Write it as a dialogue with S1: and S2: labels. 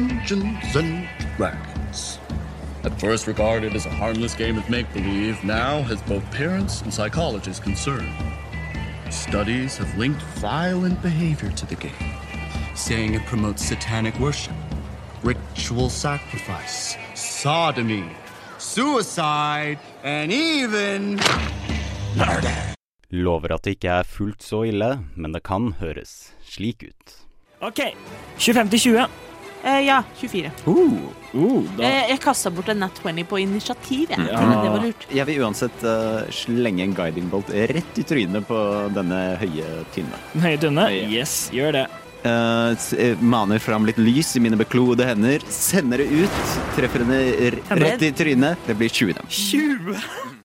S1: Dungeons and Dragons. At first regarded as a harmless game of make believe, now has both parents and psychologists concerned. Studies have linked violent behavior to the game, saying it promotes satanic worship, ritual sacrifice, sodomy, suicide, and even murder.
S2: Lover at det ikke er fullt så ille, men det kan høres slik ut.
S3: OK. 25 til 20.
S4: Eh, ja, 24.
S5: Uh, uh, da.
S4: Eh, jeg kasta bort en Nat 20 på initiativ, jeg.
S3: Ja.
S4: Det var lurt.
S5: Jeg vil uansett eh, slenge en guiding bolt rett i trynet på denne høye tynne.
S3: Høye tynne.
S5: Høye.
S3: Yes, gjør det.
S5: Eh, s- eh, maner fram litt lys i mine beklodde hender, sender det ut, treffer henne r-
S3: Henne?
S5: rett i trynet. Det blir 20 dem.
S3: 20.